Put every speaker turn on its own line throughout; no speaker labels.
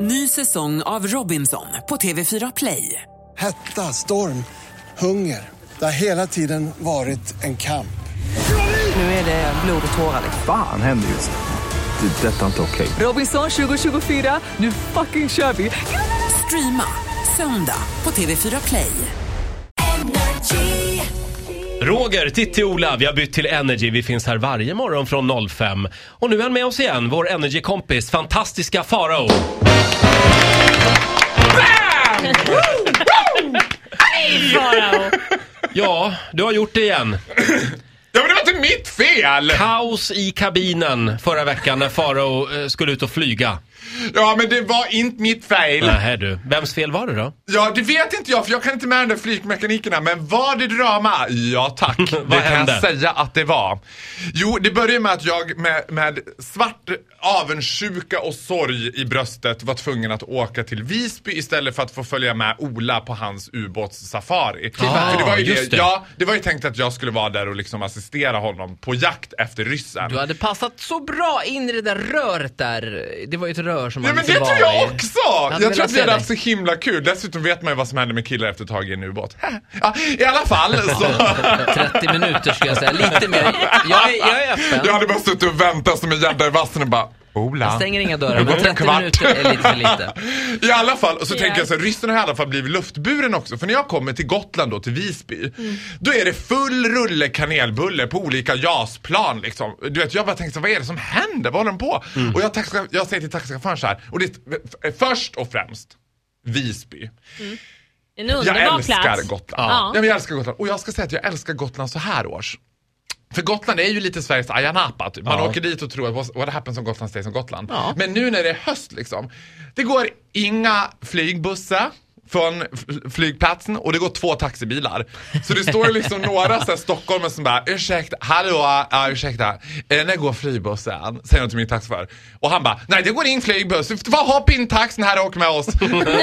Ny säsong av Robinson på TV4 Play.
Hetta, storm, hunger. Det har hela tiden varit en kamp.
Nu är det blod och tårar.
Fan händer just nu. Det. är Detta är inte okej.
Robinson 2024, nu fucking kör vi! Streama söndag på TV4 Play.
Roger, Titti, Ola, vi har bytt till Energy. Vi finns här varje morgon från 05. Och nu är han med oss igen, vår Energy-kompis, fantastiska Farao. Ja, du har gjort det igen.
Ja men det var inte mitt fel!
Kaos i kabinen förra veckan när Farao eh, skulle ut och flyga.
Ja men det var inte mitt fel.
Nähä du, vems fel var det då?
Ja det vet inte jag för jag kan inte med den där flygmekanikerna men var det drama? Ja tack. det kan
hände?
jag säga att det var. Jo det började med att jag med, med svart avundsjuka och sorg i bröstet var tvungen att åka till Visby istället för att få följa med Ola på hans ubåtssafari.
Ah,
för det var ju
just
det.
det.
Ja, det var ju tänkt att jag skulle vara där och liksom assistera honom på jakt efter ryssen.
Du hade passat så bra in i det där röret där. Det var ju ett rör som
Ja
man
men det
inte
tror
var
jag
i.
också!
hade
Jag tror
velat
att vi hade
se
haft så himla kul. Dessutom vet man ju vad som händer med killar efter ett tag i en ubåt. Ja, I alla fall så...
30 minuter skulle jag säga, lite mer. Jag är, jag är öppen.
Jag hade bara suttit och väntat som en gädda i vassen och bara Ola.
Jag stänger inga
Det
dörrar,
går
men
en
30
kvart.
minuter är lite för lite.
I alla fall, och så
Ja.
tänker jag så här, ryssen har i alla fall blivit luftburen också. För när jag kommer till Gotland då, till Visby,
Mm.
då är det full rulle kanelbulle på olika JAS-plan liksom. Du vet, jag bara tänkte så här, vad är det som händer? Vad håller de på? Och jag, taxa, jag säger till taxichauffören så här, och det är först och främst, Visby.
Mm. En
Jag
underbar
älskar
plats.
Gotland.
Ja.
Ja. men jag älskar Gotland. Och jag ska säga att jag älskar Gotland så här års. För Gotland är ju lite Sveriges Ayia Napa. Typ. Man
Ja.
åker dit och tror att what- what happens on Gotland stays on Gotland. Men nu när det är höst liksom. Det går inga flygbussar från f- flygplatsen och det går två taxibilar. Så det står ju liksom några så här stockholmare som bara ursäkta, hallå, ja ursäkta, eh, när går flygbussen? Säger de till min taxichaufför. Och han bara, nej det går ingen flygbuss, Vad hopp in taxin här och åk med oss.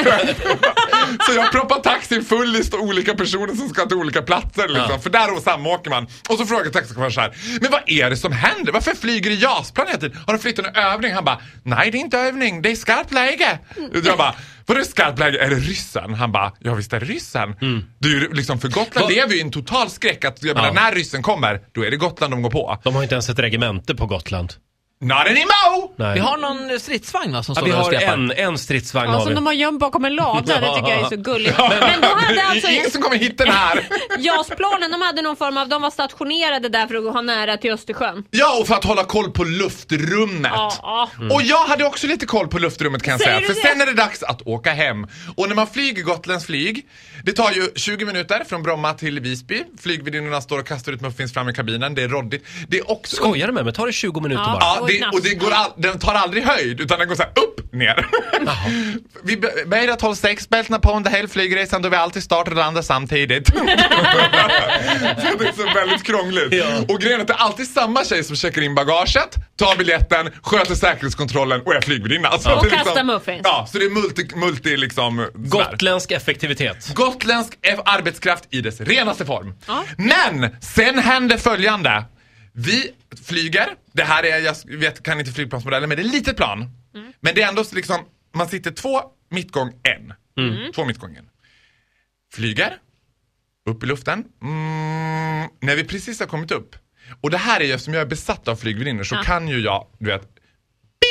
Så jag proppar taxin full i st- olika personer som ska till olika platser liksom.
Ja.
För där och samåker man. Och så frågar taxichauffören så här. Men vad är det som händer? Varför flyger det JAS-plan hela tiden? Har de flyttat en övning? Han bara, nej det är inte övning, det är skarpt läge. Jag bara, vadå skarpt läge? Är det ryssen? Han bara, ja visst är det ryssen. Det är ju liksom, för Gotland
Mm. Vad-
lever ju i en total skräck att, jag
Ja.
menar, när ryssen kommer, då är det Gotland de går på.
De har inte ens ett regemente på Gotland.
Not anymore!
Nej.
Vi har någon eh, stridsvagn va, som
ja,
står
vi
där och
har
skräpar?
en, en stridsvagn
Ja,
har vi.
som de har gömt bakom en lada, det tycker jag är så gulligt. Men då
Det
hade
är
alltså
Ingen som kommer hitta den här.
JAS-planen, de hade någon form av, de var stationerade där för att ha nära till Östersjön.
Ja, och för att hålla koll på luftrummet.
Ja, ja.
Och jag hade också lite koll på luftrummet kan jag
Mm.
säga.
Säger du
För
det?
sen är det dags att åka hem. Och när man flyger Gotlands flyg, det tar ju 20 minuter från Bromma till Visby. Flygvärdinnorna står och kastar ut muffins fram i kabinen, det är roddigt. Det är också...
Skojar du med mig? Tar det 20 minuter
Ja.
bara?
Ja,
Oj,
det,
natt.
och det går all, den tar aldrig höjd utan den går så här upp, ner. vi be- böjer att hålla sexbältena på under hela flygresan då vi alltid startar och landar samtidigt. Så det är så väldigt krångligt. Och grejen är att det är alltid samma tjej som checkar in bagaget, tar biljetten, sköter säkerhetskontrollen och är flygvärdinna. Så
Och
det är liksom-
kastar muffins.
Ja, så det är multi, multi liksom. sådär.
Gotländsk effektivitet.
Gotländsk F- arbetskraft i dess renaste form. Men sen händer följande. Vi flyger. Det här är, jag vet, kan inte flygplansmodellen, men det är ett litet plan. Men det är ändå så liksom, man sitter två mittgång en. Mm. Två mittgång en. Flyger. Upp i luften. Mm, när vi precis har kommit upp. Och det här är ju, som jag är besatt av flygvärdinnor så kan ju jag, du vet,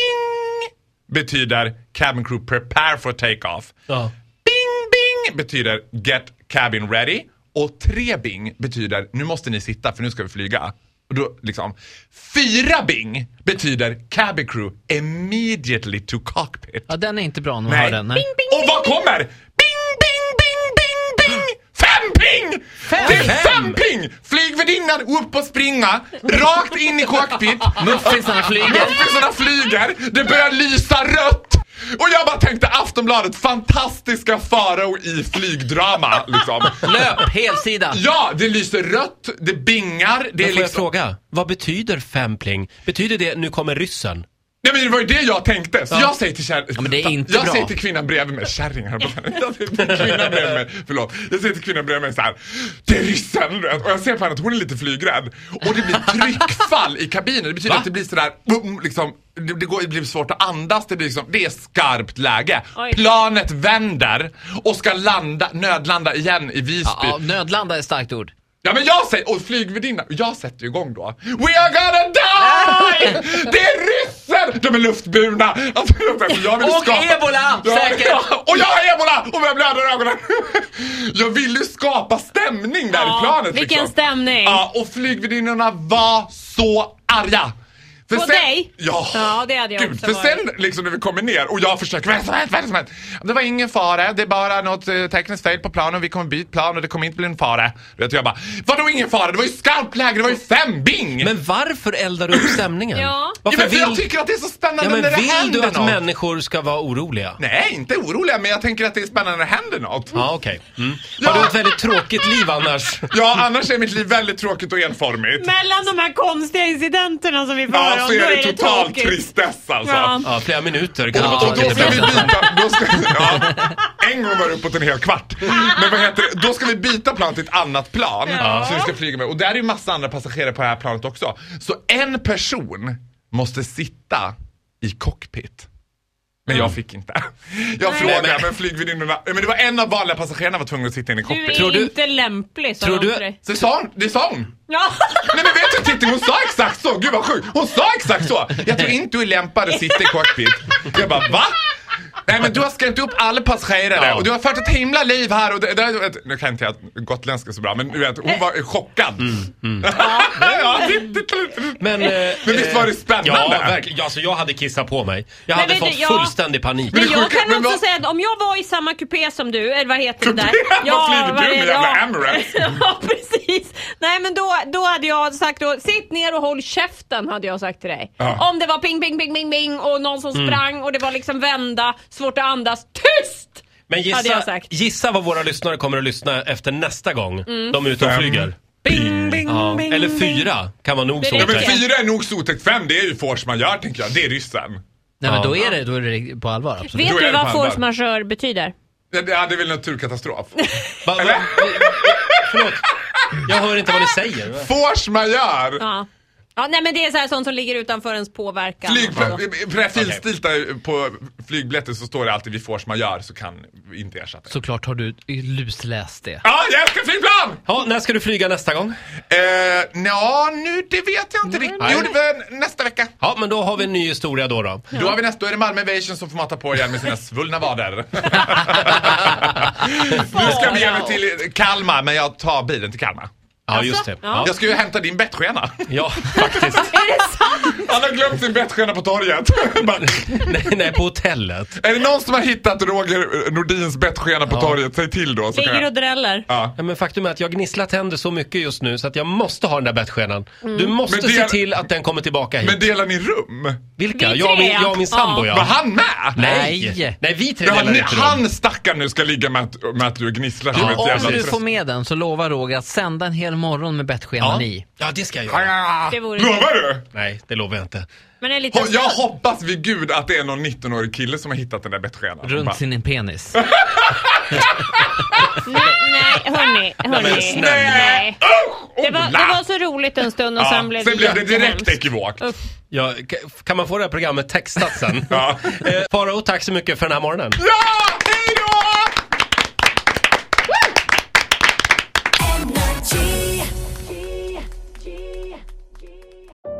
bing betyder cabin crew prepare for take-off.
Ja.
Bing, bing betyder get cabin ready och tre bing betyder nu måste ni sitta för nu ska vi flyga. Och då, liksom, fyra bing betyder cabin crew immediately to cockpit.
Ja, den är inte bra när man
Nej.
hör den. Nej.
och vad kommer? Bing, bing, bing, bing, bing! Fem ping!
Fem?
Det är fem ping! Flygvärdinnan upp och springa, rakt in i cockpit.
Muffinsarna flyger.
Muffinsarna flyger, det börjar lysa rött! Och jag bara tänkte Aftonbladet, fantastiska farao i flygdrama liksom.
Löp, helsida.
Ja, det lyser rött, det bingar, det är
Men får jag
liksom...
fråga, vad betyder fem pling? Betyder det nu kommer ryssen?
Nej men det var ju det jag tänkte. Så jag säger till kär...
men det är inte
Jag
bra.
säger till kvinnan bredvid mig, kärring här på Jag säger till kvinnan bredvid mig, förlåt. Jag säger till kvinnan bredvid mig så här. Det är ryssen! du vet. Och jag ser på henne att hon är lite flygrädd. Och det blir tryckfall i kabinen. Det betyder
Va?
att det blir sådär, boom, liksom. Det, det, går, det blir svårt att andas, det blir liksom, det är skarpt läge.
Oj.
Planet vänder och ska landa, nödlanda igen i Visby.
Ja, ja, nödlanda är ett starkt ord.
Ja men jag säger, och flygvärdinnan, jag sätter ju igång då. We are gonna die! Det är ryssar! De är luftburna! Alltså, jag vill
Och
skapa...
ebola,
Ja,
säkert.
ja, och jag har ebola! Och jag blöder i ögonen. Jag ville ju skapa stämning där i planet
vilken
liksom.
stämning.
Ja, och flygvärdinnorna var så arga! För
På dig?
Ja.
Ja, det hade jag
Gud,
också
för
varit.
sen liksom när vi kommer ner och jag försöker, vad är det som hänt, vad är det som hänt? Det var ingen fara, det är bara något eh, tekniskt fel på planen, vi kommer byta plan och det kommer inte bli en fara. Du vet, jag bara, vadå ingen fara? Det var ju skarpt läge, det var ju fem bing!
Men varför eldar du upp stämningen?
Ja.
ja,
Varför
men för jag
vill,
tycker att det är så spännande
ja, men
när det
vill
händer
du att
något.
människor ska vara oroliga?
Nej, inte oroliga, men jag tänker att det är spännande när det händer något.
Ja, okej. Mm. Har du ett väldigt tråkigt liv annars?
Ja, annars är mitt liv väldigt tråkigt och enformigt.
Mellan de här konstiga incidenterna som vi får höra
Ja,
om,
så
då
är det
är det
total
tråkigt.
tristess alltså.
Ja.
Ja, flera minuter kan det
Och
vara
då
tråkigt
ska vi
ibland.
byta, då ska, ja, en gång var det uppåt en hel kvart. Men vad heter det? Då ska vi byta plan till ett annat plan
Ja.
som vi ska flyga med. Och där är ju massa andra passagerare på det här planet också. Så en person måste sitta i cockpit. Men
Mm.
jag fick inte. Jag frågade men flygvärdinnorna, men det var en av vanliga passagerarna var tvungen att sitta inne i
Du är
cockpit.
Tror du-
inte lämplig, sa
Tror
de
du-
till dig.
Så sa hon, det sa hon.
Ja.
Nej men vet du Titti, hon sa exakt så! Gud vad sjukt! Hon sa exakt så! Jag tror inte du är lämpad att sitta i cockpit. Jag bara va? Nej men du har skrämt upp alla passagerare
Ja.
och du har fört ett himla liv här och det, det, du vet, Nu kan inte jag gotländska så bra men du vet, hon var chockad.
Mm,
ja, titta, titta, titta.
Men, eh,
Men visst var det spännande?
Ja, verkligen. Alltså, jag hade kissat på mig. Jag
Men
hade
vet
fått
du, ja.
fullständig panik.
Men
det
jag
sjuka-
kan
men
också
vad-
säga att om jag var i samma kupé som du, eller vad heter det där?
Vad flyger
vad
du med
det-
jävla
ja.
Emirates?
Ja, precis. Nej, men då, då hade jag sagt då, sitt ner och håll käften hade jag sagt till dig.
Ja. Mm.
Om det var ping, ping, ping, ping, ping och någon som sprang och det var liksom vända, svårt att andas, tyst!
Men
Hade jag
gissa,
sagt. Mm.
gissa vad våra lyssnare kommer att lyssna efter nästa gång de är ute och
Fem.
flyger.
Bing, bing,
Ja.
bing,
Eller
bing.
fyra kan vara nog så
Ja, men
Okej.
otäckt.
fyra är nog så otäckt, fem det är ju force majeure tänker jag, det är ryssen.
Nej men då är det, då är det på allvar absolut.
Då
Vet
är
du
det
vad
på allvar.
force majeure betyder?
Det, det är väl en naturkatastrof.
Va, va,
Eller?
förlåt, jag hör inte vad ni säger.
Force majeure!
Ja. ja, nej men det är så här sånt som ligger utanför ens påverkan.
Flyg,
Ja.
profilstilt på flygbiljetter så står det alltid vid force majeure så kan vi inte ersätta. det.
Såklart har du lusläst det.
Ja, jag älskar flygplan!
Ja, när ska du flyga nästa gång?
Eh, nja, nu det vet jag inte riktigt. Jo, det var nästa vecka.
Ja, men då har vi en ny historia då. då.
Då har vi nästa, då är det Malmö Evasion som får mata på igen med sina svullna vader. nu ska vi ge mig till Kalmar, men jag tar bilen till Kalmar.
Ja,
Alltså,
just det. Ja,
Jag ska ju hämta din bettskena.
ja faktiskt.
Är det sant?
Han har glömt sin bettskena på torget. Bara,
Nej, nej, på hotellet.
är det någon som har hittat Roger Nordins bettskena på torget, säg till då. Så kan
Ligger och
jag...
dräller.
ja.
Ja, men faktum är att jag gnisslar tänder så mycket just nu så att jag måste ha den där bettskenan. Du måste
Mm. Men det-
se till att den kommer tillbaka hit.
Men delar ni rum?
Vilka?
Vi
Jag och min,
tre.
jag och min sambo,
Var
ja.
han med?
Nej.
Nej.
Nej, vi tre
Ja,
delar
ni,
inte dem.
han stackaren nu ska ligga med att, med att du gnisslar som ett
Om
jävla
du
tröst.
får med den så lovar Roger att sända en hel morgon med bettskenan
Ja.
i.
ja, det ska jag göra.
Ah,
Det vore-
Lovar du?
Nej, det lovar jag inte.
Men en liten
Ho- Jag hoppas vid gud att det är någon 19-årig kille som har hittat den där bettskenan. Bara-
Runt sin penis.
Nej, nej, hörni.
men
hörni.
snälla.
Nej.
Usch!
Det var,
Ola!
det var så roligt en stund och
Ja,
sen blev det jättehemskt.
direkt ekivokt.
Ja, k- kan man få det här programmet textat sen?
Ja.
eh, Farao, tack så mycket för den här morgonen.
Ja, hej då!